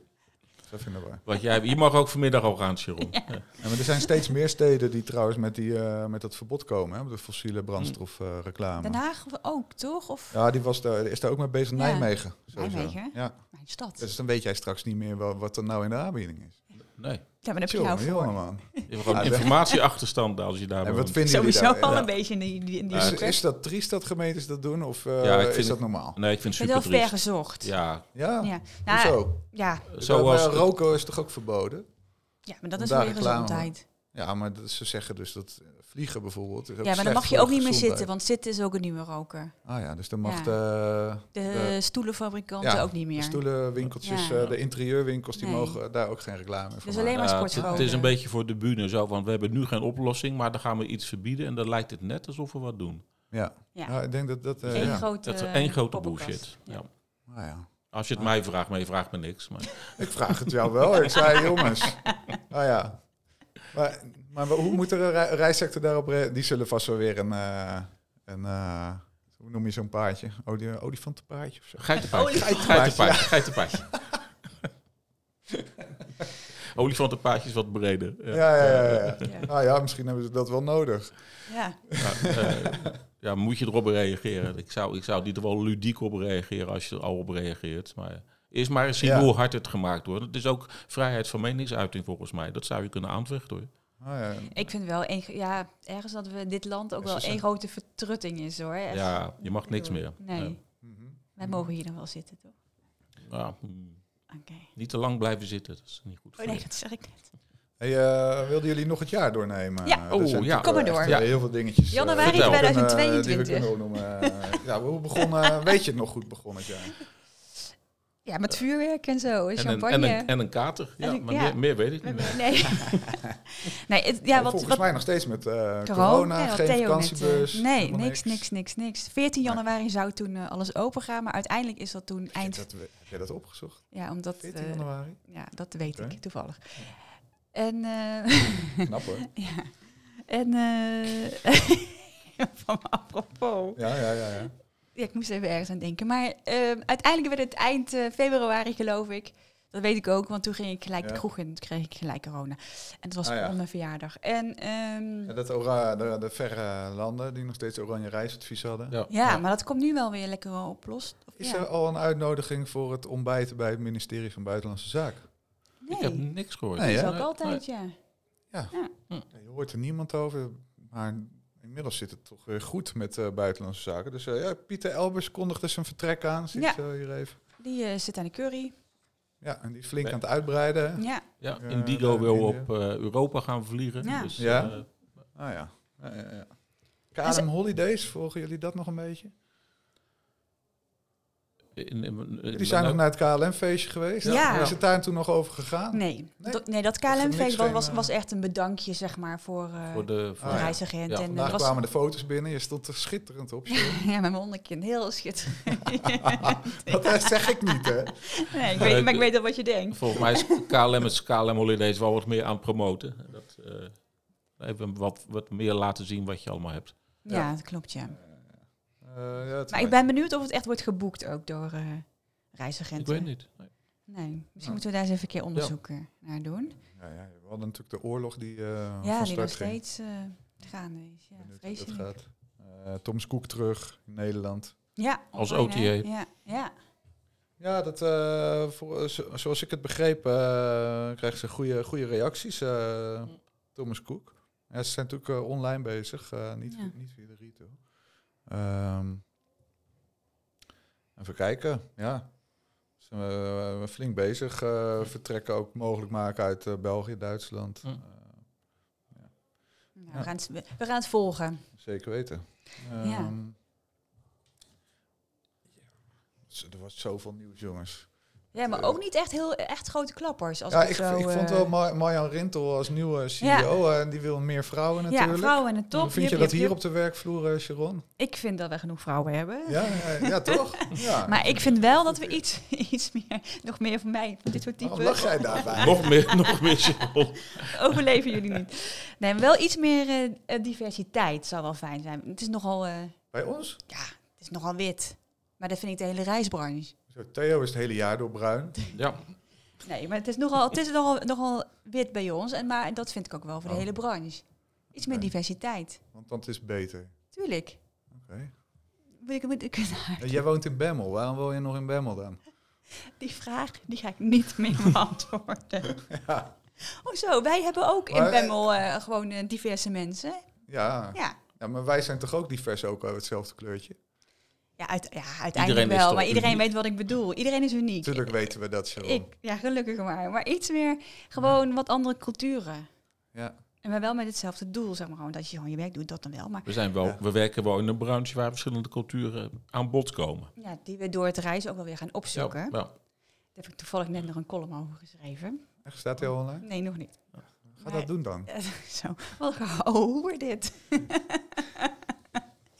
S3: Dat vinden we.
S2: Wat jij, je mag ook vanmiddag al gaan, Sharon.
S3: Ja, maar er zijn steeds meer steden die trouwens met, die, eh, met dat verbod komen, hè, op de fossiele brandstofreclame. reclame.
S4: Den Haag ook, toch? Of
S3: Ja, die was daar, is daar ook mee bezig.
S4: Ja.
S3: Nijmegen. sowieso.
S4: Nijmegen?
S3: Ja.
S4: mijn stad.
S3: Dus dan weet jij straks niet meer wel wat er nou in de aanbieding is.
S2: Nee,
S4: ja, maar daar heb je jou
S3: Jongen,
S4: voor.
S3: jongen, man.
S2: je hebt gewoon
S3: Ja, dat-
S2: informatieachterstand als je daar
S3: En wat
S2: woont.
S3: vinden jullie
S4: Sowieso
S3: daar?
S4: al
S3: Ja.
S4: een beetje in die, in die, in die
S3: Is,
S4: hoek, hè?
S3: is dat triest dat gemeentes dat doen? Of eh,
S2: Eh, Ja, ik
S3: is
S2: vind
S3: dat
S2: het-
S3: normaal?
S2: Nee, ik vind
S4: Ik
S2: het
S4: ben wel
S2: super
S4: ver
S2: triest.
S4: gezocht.
S2: Ja,
S3: Ja,
S4: Ja. Nou,
S3: hoezo?
S4: ja.
S2: zoals...
S3: Bij roken is toch ook verboden?
S4: ja, maar dat
S3: Om
S4: is
S3: daar
S4: weer
S3: reclame voor.
S4: gezondheid.
S3: Ja, maar dat- ze zeggen dus dat vliegen bijvoorbeeld...
S4: Ja, maar dan mag je ook niet meer zitten, want zitten is ook een nieuwe roker.
S3: Ah ja, dus dan mag
S4: Ja.
S3: de,
S4: De,
S3: de-
S4: stoelenfabrikanten
S3: ja,
S4: ook niet
S3: de
S4: meer.
S3: stoelenwinkeltjes,
S4: Ja.
S3: eh, de interieurwinkels, die
S4: Nee.
S3: mogen daar ook geen reclame voor
S4: Dus
S3: maken.
S4: alleen maar
S2: Ja, het, het is
S4: sportverboden.
S2: een beetje voor de bühne zo, want we hebben nu geen oplossing, maar dan gaan we iets verbieden en dan lijkt het net alsof we wat doen.
S3: Ja.
S4: Ja.
S3: Ja, ik denk dat dat... eh,
S4: Eén
S3: ja.
S4: grote,
S2: Dat is één grote
S4: poppenkast.
S2: bullshit. Ja.
S3: Ah, ja.
S2: Als je het mij vraagt, maar je vraagt me niks. Maar
S3: Ik vraag het jou wel. Ik zei, jongens. Ah ja. Maar, maar hoe moet de re- reissector daarop... re- Die zullen vast wel weer een... eh, een eh, hoe noem je zo'n paardje? Olif- Olifantenpaardje of zo?
S2: geitenpaardje,
S3: Geitenpaardje,
S2: geitenpaardje, geitenpaardje. Olifantenpaadjes wat breder.
S3: Ja, ja, ja. ja.
S4: Ja.
S3: Nou ja, misschien hebben ze dat wel nodig.
S4: Ja,
S2: Ja, eh, ja, moet je erop reageren? Ik zou, ik zou niet er wel ludiek op reageren als je er al op reageert. Maar eerst maar eens zien
S3: Ja.
S2: hoe hard het gemaakt wordt. Het is ook vrijheid van meningsuiting volgens mij. Dat zou je kunnen aanvechten hoor.
S3: Ah, ja.
S4: ik vind wel een, ja, ergens dat we dit land ook
S3: Ze
S4: wel
S3: zijn-
S4: één grote vertrutting is hoor. Echt.
S2: Ja, je mag niks meer.
S4: Nee,
S2: Ja.
S3: Mhm.
S4: wij mogen hier dan wel zitten toch?
S2: Ja, mm,
S4: Oké.
S2: niet te lang blijven zitten, dat is niet goed.
S4: Oh
S2: voor
S4: nee,
S2: je.
S4: dat zeg ik net.
S3: Hey, eh, wilden jullie nog het jaar doornemen?
S4: Ja.
S3: Eh,
S2: Oh,
S3: er zijn
S2: ja.
S3: natuurlijk
S4: Kom maar
S3: echt,
S4: door.
S3: eh,
S2: Ja.
S3: Heel veel dingetjes. eh,
S4: Januari
S3: die we kunnen-
S4: 2022.
S3: die we kunnen opnoemen. Eh, ja, hoe begon, eh, weet je het nog goed begon het jaar?
S4: Ja, met vuurwerk en zo, en
S2: En een,
S4: champagne.
S2: en, een, en een kater. Ja,
S4: En een-
S2: maar
S4: ja.
S2: Meer, meer weet ik niet meer.
S4: Nee, nee het- ja, wat,
S3: Eh, Volgens
S4: wat
S3: mij nog steeds met eh, corona,
S4: corona, ja,
S3: geen
S4: Theo net, eh,
S3: vakantiebeurs.
S4: Nee,
S3: helemaal
S4: niks, niks, niks, niks. 14
S3: Nee.
S4: januari zou toen eh, alles open gaan, maar uiteindelijk is dat toen
S3: Heb
S4: eind...
S3: je dat, heb jij dat opgezocht?
S4: Ja, omdat...
S3: 14
S4: eh,
S3: januari?
S4: ja, dat weet
S3: Oké.
S4: ik toevallig. En... eh,
S3: Knap hoor.
S4: ja. En... eh, van me apropos.
S3: Ja, ja, ja. ja.
S4: Ja, ik moest even ergens aan denken. Maar ehm, uiteindelijk werd het eind eh, februari, geloof ik. Dat weet ik ook, want toen ging ik gelijk
S3: Ja.
S4: de kroeg in. Toen kreeg ik gelijk corona. En het was
S3: Ah, ja.
S4: op mijn verjaardag. En ehm,
S3: Ja, dat ora- de, de verre landen die nog steeds oranje reisadvies hadden.
S2: Ja.
S4: ja, maar dat komt nu wel weer lekker wel oplost. Of
S3: Is
S4: ja.
S3: er al een uitnodiging voor het ontbijten bij het ministerie van Buitenlandse Zaken?
S4: Nee,
S2: Ik heb niks gehoord.
S3: Nee,
S4: dat
S3: hè?
S4: is
S2: Nee,
S4: ook altijd, ja.
S3: Ja, je hoort er niemand over, maar inmiddels zit het toch weer goed met eh, Buitenlandse Zaken. Dus eh, ja, Pieter Elbers kondigde zijn vertrek aan, zie
S4: Ja.
S3: ik zo hier even.
S4: Die eh, zit aan de curry.
S3: Ja, en die is flink aan het uitbreiden. hè?
S4: Ja,
S2: Ja,
S3: Ja,
S2: Indigo
S3: daar
S2: wil
S3: in je.
S2: op eh, Europa gaan vliegen.
S4: Ja.
S2: Dus,
S3: Ja.
S2: eh,
S3: Ah ja. Ja, ja, ja.
S4: En ze-
S3: KLM Holidays, volgen jullie dat nog een beetje?
S2: in, in- in-
S3: Jullie zijn nog naar het KLM-feestje geweest.
S4: Ja. Ja.
S3: Is het daar toen nog over gegaan?
S4: nee.
S3: Oh. Nee.
S4: Dat, nee, dat
S3: er niks
S4: KLM-feest was,
S3: geen,
S4: was,
S3: eh,
S4: was echt een bedankje, zeg maar, voor, eh,
S2: voor de, voor
S4: voor
S3: Ah,
S4: de
S3: ja.
S4: reisagent.
S2: Ja,
S4: en
S3: Vandaag
S4: er was,
S3: kwamen de foto's binnen, je stond er schitterend op. joh.
S4: Ja, met mijn hondenkind. Heel schitterend.
S3: Dat eh, zeg ik niet, hè?
S4: nee, ik weet, maar ik weet al wat je denkt.
S2: Volgens mij is KLM het KLM Holidays wel wat meer aan het promoten. Dat, eh, even wat, wat meer laten zien wat je allemaal hebt.
S4: Ja,
S3: Ja.
S4: dat klopt, ja.
S3: Eh, ja, het
S4: Maar ik ben benieuwd of het echt wordt geboekt ook door eh,
S2: Ik
S4: reisagenten.
S2: weet niet. Nee.
S4: Nee, misschien
S3: Ja.
S4: moeten we daar eens even een keer onderzoek eh, naar doen.
S3: Ja, ja, we hadden natuurlijk de oorlog die eh
S4: ja,
S3: van
S4: die nog
S3: start ging.
S4: steeds eh, gaande is. Ja,
S3: Benieuwd hoe dat
S4: vreselijk.
S3: gaat. Eh, Tom's Koek terug in Nederland.
S4: Ja,
S2: Als
S4: online, hè?
S2: OTA.
S4: Ja, ja.
S3: Ja, dat, eh, voor, zo- zoals ik het begreep, eh, krijgen ze goede, goede reacties. eh, Thomas Cook. Ja, ze zijn natuurlijk eh, online bezig, eh, niet,
S4: Ja.
S3: niet via de retail. Ehm, even kijken, ja. Ze zijn eh, flink bezig. eh, vertrekken ook mogelijk maken uit eh, België, Duitsland.
S2: Hm.
S3: Eh,
S4: Nou,
S3: Ja.
S4: We, gaan het, we gaan het volgen.
S3: zeker weten. Ehm,
S4: Ja.
S3: zo- Er was zoveel nieuws, jongens.
S4: Ja, maar
S3: Eh.
S4: ook niet echt heel echt grote klappers. Als
S3: ja,
S4: het
S3: ik,
S4: zo,
S3: ik
S4: eh,
S3: vond wel Ma- Marjan Rintel als nieuwe CEO, eh, en die wil meer vrouwen natuurlijk.
S4: Ja, vrouwen in de top.
S3: Hoe vind je
S4: Jip,
S3: dat
S4: jip,
S3: hier
S4: jip.
S3: op de werkvloer, eh, Sharon?
S4: Ik vind dat we genoeg vrouwen hebben.
S3: Ja, ja, ja, toch? Ja.
S4: Maar ik vind wel dat we iets, iets meer, nog meer van mij, van dit soort
S3: Waarom
S4: typen,
S3: lach jij daarbij?
S2: Nog meer, nog meer Sharon.
S4: overleven jullie niet. Nee, maar wel iets meer eh, eh, diversiteit zou wel fijn zijn. Het is nogal, eh,
S3: Bij ons?
S4: ja, het is nogal wit. Maar dat vind ik de hele reisbranche.
S3: Zo, Theo is het hele jaar door bruin.
S2: Ja.
S4: Nee, maar het is nogal, het is nogal, nogal wit bij ons. En, maar dat vind ik ook wel voor
S3: Oh.
S4: de hele branche. Iets meer
S3: Oké.
S4: diversiteit.
S3: Want dat is beter.
S4: Tuurlijk.
S3: Oké.
S4: Moet ik, moet ik,
S3: En jij woont in Bemmel. Waarom woon je nog in Bemmel dan?
S4: die vraag die ga ik niet meer beantwoorden.
S3: Ja.
S4: Oh zo, wij hebben ook
S3: Maar,
S4: in
S3: eh,
S4: Bemmel eh, gewoon eh, diverse mensen.
S3: Ja.
S4: Ja,
S3: ja, maar wij zijn toch ook divers, ook wel hetzelfde kleurtje?
S4: ja, uit, ja uiteindelijk
S2: Iedereen is
S4: wel.
S2: toch
S4: Maar iedereen
S2: uniek?
S4: weet wat ik bedoel. Iedereen is uniek.
S3: Natuurlijk weten we dat, Sharon.
S4: Ik, ja, gelukkig maar. Maar iets meer gewoon wat andere culturen.
S3: Ja.
S4: En maar wel met hetzelfde doel, zeg maar. Gewoon dat je gewoon je werk doet, dat dan wel. Maar
S2: We, zijn wel,
S3: Ja.
S2: we werken wel in een branche waar verschillende culturen aan bod komen.
S4: ja, die we door het reizen ook wel weer gaan opzoeken.
S2: Ja, ja.
S4: Daar heb ik toevallig net nog een column over geschreven.
S3: Echt, staat hij al online?
S4: Nee, nog niet.
S3: Ga
S4: Nee.
S3: dat doen dan.
S4: Zo, wat gehoor dit.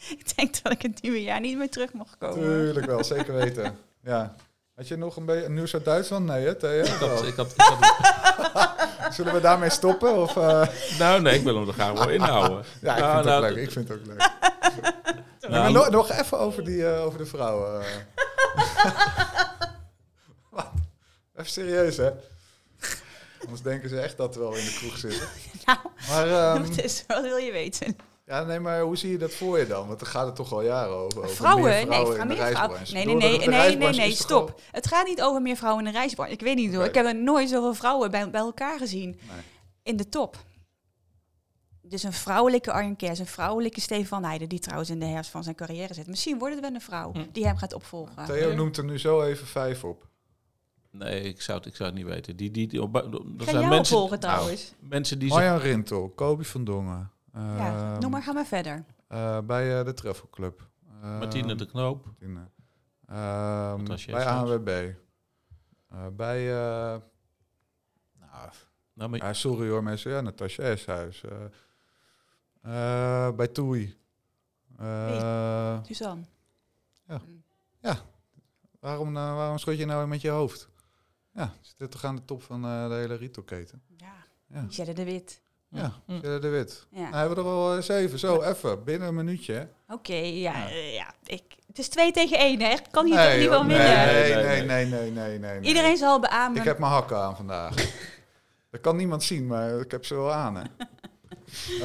S4: ik denk dat ik het nieuwe jaar niet meer terug mag komen.
S3: Tuurlijk wel, zeker weten. Ja. Had je nog een beetje nieuws uit Duitsland? Nee, hè, Theo?
S2: Ik had, ik had, ik had-
S3: Zullen we daarmee stoppen? Of, eh,
S2: nou nee, ik wil hem er graag wel inhouden.
S3: Ja, ik
S2: Nou,
S3: vind het
S2: nou,
S3: ook leuk. Ik vind het ook leuk. maar
S2: nou,
S3: nog, nog even over, die, eh, over de vrouwen. eh. Wat? Even serieus, hè? Anders denken ze echt dat we wel in de kroeg zitten.
S4: Nou,
S3: Maar, ehm,
S4: dus wat wil je weten?
S3: ja, nee, maar hoe zie je dat voor je dan? Want daar gaat het toch al jaren over. over
S4: Vrouwen?
S3: meer
S4: Nee,
S3: in
S4: vrouwen,
S3: de
S4: meer vrouwen.
S3: reisbranche.
S4: Nee, nee,
S3: Bedoel,
S4: nee,
S3: dat- de
S4: nee, nee, nee,
S3: reisbranche is toch
S4: stop. Het gaat niet over meer vrouwen in de reisbranche. Ik weet niet hoor.
S3: Oké.
S4: Ik heb er nooit zoveel vrouwen bij, bij elkaar gezien.
S3: Nee.
S4: In de top. Dus een vrouwelijke Arjen Kers, een vrouwelijke Stefan Heijden, die trouwens in de herfst van zijn carrière zit. Misschien wordt het wel een vrouw
S2: Hm.
S4: die hem gaat opvolgen.
S3: gewoon- Theo noemt er nu zo even vijf op.
S2: Nee, ik zou het, ik zou het niet weten. Die, die, die, op- er
S4: Ga
S2: zijn
S4: jou
S2: mensen, Nou,
S4: opvolgen trouwens.
S2: mensen die zich
S3: Marjan Rintel, Kobe van Dongen. eh,
S4: ja, noem maar, ga maar verder.
S3: eh, bij eh, de Travel Club. Eh,
S2: Martine de Knoop.
S3: Martine. Ehm,
S2: Dat was jij
S3: bij
S2: zelfs.
S3: ANWB. Eh, bij, eh, nou,
S2: Nou, maar,
S3: ja, sorry hoor mensen, ja, Natasja Eshuis. eh eh, bij Toei. Eh,
S4: Suzanne.
S3: waarom, nou- waarom schud je nou met je hoofd? Ja, ze zitten toch aan de top van eh, de hele retailketen.
S4: Ja.
S3: Ja.
S4: Michelle de Wit.
S3: Ja,
S4: Mm.
S2: Hm.
S3: Gerda de Wit.
S4: Ja.
S3: Nou, hebben we er al eh, zeven, zo even, binnen een minuutje. hè?
S4: Oké, ja,
S3: Ja.
S4: eh, ja. Ik, het is twee tegen één, hè? Ik kan hier toch niet
S3: hoor,
S4: van
S3: nee,
S4: winnen?
S3: nee,
S2: Nee,
S3: nee,
S2: nee,
S3: nee, nee, nee, nee.
S4: Iedereen zal beamen.
S3: Ik heb mijn hakken aan vandaag. dat kan niemand zien, maar ik heb ze wel aan. Hè.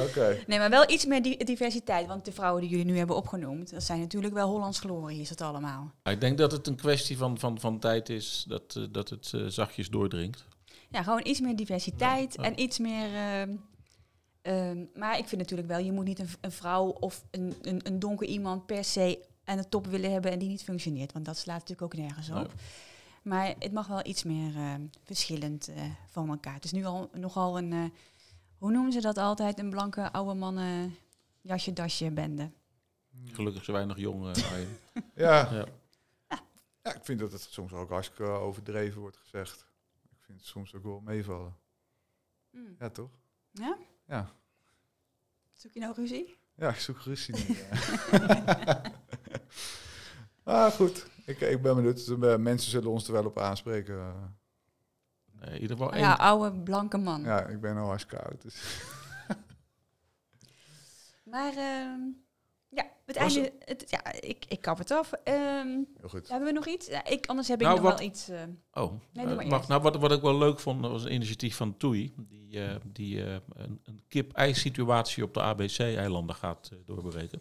S3: Oké.
S4: Nee, maar wel iets meer di- diversiteit. Want de vrouwen die jullie nu hebben opgenoemd, dat zijn natuurlijk wel Hollands glorie, is dat allemaal.
S2: ik denk dat het een kwestie van, van, van tijd is dat, eh, dat het eh, zachtjes doordringt.
S4: Ja, gewoon iets meer diversiteit
S2: Ja.
S4: en iets meer. ehm, ehm, maar ik vind natuurlijk wel, je moet niet een, v- een vrouw of een, een, een donker iemand per se aan de top willen hebben en die niet functioneert. Want dat slaat natuurlijk ook nergens op.
S2: Nee.
S4: Maar het mag wel iets meer ehm, verschillend eh, van elkaar. Het is nu al nogal een, eh, hoe noemen ze dat altijd? Een blanke oude mannen jasje dasje bende.
S2: Gelukkig zijn weinig jongen. Arjen.
S3: Ja.
S2: Ja.
S3: ja, ik vind dat het soms ook hartstikke overdreven wordt gezegd. Ik vind het soms ook wel meevallen.
S4: Hmm.
S3: Ja, toch?
S4: Zoek je nou ruzie?
S3: Ja, ik zoek ruzie nu. ja. eh. ah, goed. Ik, ik ben benieuwd. Eh, Mensen zullen ons er wel op aanspreken. eh.
S2: Nee, in ieder geval één.
S4: Ja, oude blanke man.
S3: Ja, ik ben al hartstikke oud. Dus.
S4: Maar ehm, ja, het
S2: Was-
S4: einde, het, ja, ik, ik kap het af. Ehm,
S3: Heel goed.
S4: hebben we nog iets? Ja, ik, anders heb ik
S2: Nou,
S4: nog
S2: wat-
S4: wel iets. eh,
S2: Oh,
S4: Nee, doe maar
S2: eh, mag,
S4: eerst.
S2: nou, wat, wat ik wel leuk vond, dat was een initiatief van Toei. Die, eh, die eh, een, een kip-ei-situatie op de ABC-eilanden gaat eh, doorbreken.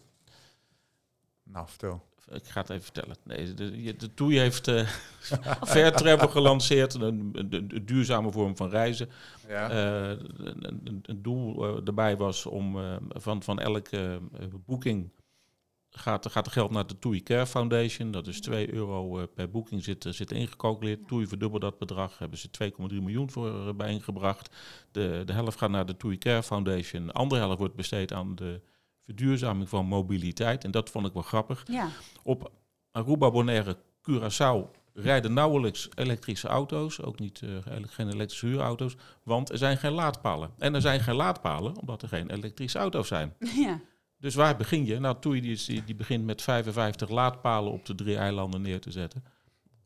S3: Nou, vertel.
S2: Ik ga het even vertellen. Nee, de, je- de Toei heeft eh Fair Travel gelanceerd, een, een- een duurzame vorm van reizen.
S3: Ja.
S2: Eh, een, een, een doel eh, erbij was om eh, van, van elke eh, boeking gaat, gaat er geld naar de TUI Care Foundation. Dat is 2 euro eh, per boeking zit, eh, zit ingecalculeerd. TUI verdubbelt dat bedrag. Hebben ze 2,3 miljoen voor eh, bijeengebracht. De, de helft gaat naar de TUI Care Foundation. De andere helft wordt besteed aan de verduurzaming van mobiliteit. En dat vond ik wel grappig.
S4: ja,
S2: Op Aruba, Bonaire, Curaçao rijden nauwelijks elektrische auto's. Ook niet, eh, eigenlijk geen elektrische huurauto's. Want er zijn geen laadpalen. En er zijn geen laadpalen omdat er geen elektrische auto's zijn.
S4: ja.
S2: Dus waar begin je? Nou, Toei die, is- die, die begint met 55 laadpalen op de drie eilanden neer te zetten.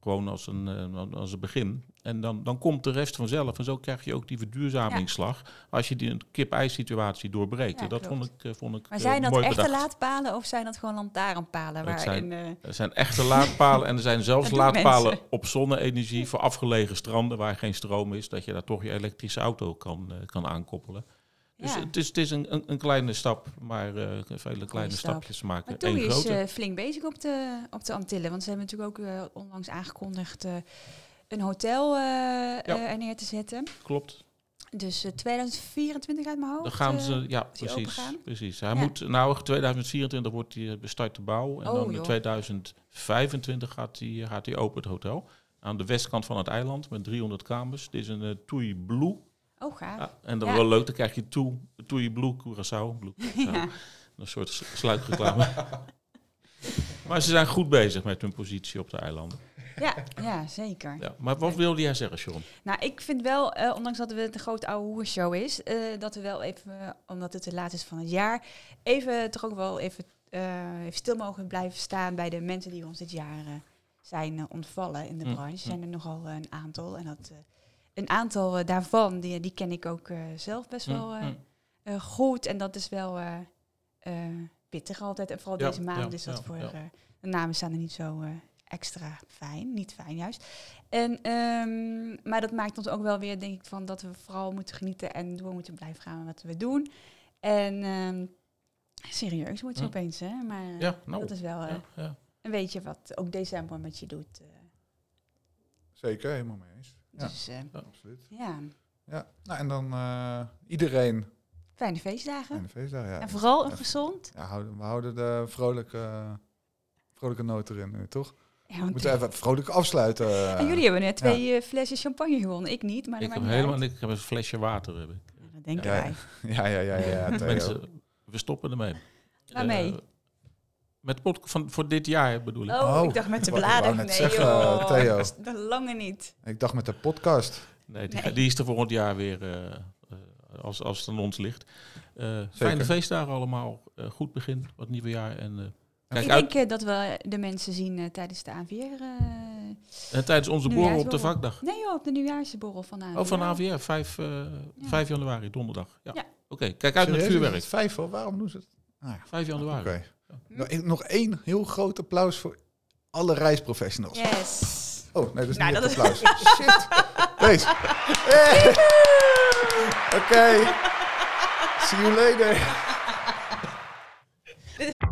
S2: Gewoon als een, eh, als een begin. En dan, dan komt de rest vanzelf. En zo krijg je ook die verduurzamingsslag. Als je die een kip-ei-situatie doorbreekt.
S4: Ja,
S2: En dat
S4: klopt.
S2: vond ik, eh, vond ik
S4: Maar
S2: eh,
S4: zijn dat
S2: mooi
S4: echte
S2: bedacht.
S4: laadpalen of zijn dat gewoon lantaarnpalen?
S2: Dat
S4: Waarin, eh,
S2: Er zijn echte laadpalen en er zijn zelfs
S4: Dat doen
S2: laadpalen
S4: mensen.
S2: op zonne-energie voor afgelegen stranden waar geen stroom is, dat je daar toch je elektrische auto kan, eh, kan aankoppelen. Dus
S4: ja.
S2: het is, het is een, een, een kleine stap, maar eh, vele kleine
S4: stap.
S2: stapjes maken
S4: Maar Toei
S2: één
S4: is
S2: grote.
S4: eh, flink bezig op de, op de Antillen. Want ze hebben natuurlijk ook eh, onlangs aangekondigd eh, een hotel eh eh, er neer te zetten.
S2: Klopt.
S4: Dus eh, 2024 uit mijn hoofd.
S2: Dan gaan
S4: eh,
S2: ze, ja,
S4: die
S2: precies.
S4: opengaan?
S2: precies. Hij
S4: Ja.
S2: moet, nou, 2024 wordt die eh, bestart de bouw en
S4: Oh,
S2: dan in
S4: joh.
S2: 2025 gaat hij gaat die open het hotel. Aan de westkant van het eiland met 300 kamers. Dit is een eh, Toei Blue
S4: Oh, gaaf.
S2: Ja, en dat
S4: Ja.
S2: is wel leuk, dan krijg je toe, toe je Blue Curaçao. Blue Curaçao.
S4: Ja.
S2: Een soort s- sluitreclame. maar ze zijn goed bezig met hun positie op de eilanden.
S4: Ja, ja, zeker.
S2: Ja, maar wat wilde jij zeggen, Sean?
S4: Nou, ik vind wel, eh, ondanks dat het een grote oude hoershow is, eh, dat we wel even, eh, omdat het de laatste is van het jaar, even toch ook wel even, eh, even stil mogen blijven staan bij de mensen die ons dit jaar eh, zijn eh, ontvallen in de
S2: Mm,
S4: branche.
S2: mm.
S4: zijn er nogal eh, een aantal. En dat, eh, een aantal eh, daarvan, die, die ken ik ook eh, zelf best wel eh,
S2: Mm,
S4: eh, goed. En dat is wel eh, eh, pittig altijd. En vooral
S2: Ja,
S4: deze maand
S2: ja,
S4: is dat
S2: ja,
S4: voor...
S2: ja.
S4: eh, de namen staan er niet zo eh, extra fijn, niet fijn juist. En, ehm, maar dat maakt ons ook wel weer, denk ik, van dat we vooral moeten genieten en door moeten blijven gaan met wat we doen. En ehm, serieus wordt het
S2: Ja.
S4: opeens, hè? Maar eh,
S2: Ja, nou.
S4: dat is wel eh,
S2: Ja, ja.
S4: een beetje wat ook december met je doet. eh.
S3: Zeker, helemaal mee eens. Ja,
S4: Dus eh,
S3: absoluut.
S4: ja,
S3: Ja. Nou, en dan eh, iedereen
S4: fijne feestdagen.
S3: en eh, de feestdagen. Ja.
S4: En vooral een
S3: Ja.
S4: gezond.
S3: Ja, houden- we houden de vrolijke, vrolijke noot erin nu, toch?
S4: Ja,
S3: We
S4: want
S3: moeten even vrolijk afsluiten.
S4: en jullie hebben net twee eh, flessen champagne gewonnen. Ik niet, maar dat
S2: Ik
S4: maakt
S2: heb
S4: niet
S2: helemaal
S4: uit.
S2: ik heb een flesje water. Heb ik.
S4: Ja, dat denken
S3: Ja.
S4: wij.
S3: Ja, ja, ja, ja. Theo.
S2: Mensen, we stoppen ermee.
S4: Waarmee?
S2: Eh, met pod- van, voor dit jaar bedoel ik.
S4: Oh,
S3: Oh,
S4: ik dacht met de
S3: ik wou- ik wou
S4: bladeren.
S3: net
S4: Nee,
S3: zeggen, eh,
S4: joh.
S3: Theo.
S4: Dat is de lange niet.
S3: Ik dacht met de podcast.
S2: Nee, die,
S4: Nee.
S2: die is er volgend jaar weer, eh, eh, als, als het aan ons ligt. Eh fijne feestdagen allemaal. Eh, goed begin, wat nieuwe jaar. En, eh, kijk
S4: ik
S2: uit
S4: denk eh, dat we de mensen zien eh, tijdens de AVR. eh,
S2: eh, tijdens onze borrel op de
S4: Nieuwjaarsborrel.
S2: vakdag.
S4: nee joh, op de nieuwjaarsborrel van de AVR.
S2: Oh, van AVR, 5, eh,
S4: Ja.
S2: 5 januari, donderdag. Ja.
S4: Ja.
S2: Oké, kijk uit met
S3: Serieus, is
S2: vuurwerk.
S3: het Vijf al, waarom doen ze het?
S2: 5 januari.
S3: Oké. Nou, ik- Nog één heel groot applaus voor alle reisprofessionals.
S4: Yes.
S3: Oh, nee, dat is
S4: Nou,
S3: niet
S4: dat
S3: het
S4: is-
S3: applaus. Shit. Deze. Hey. Oké. See you later.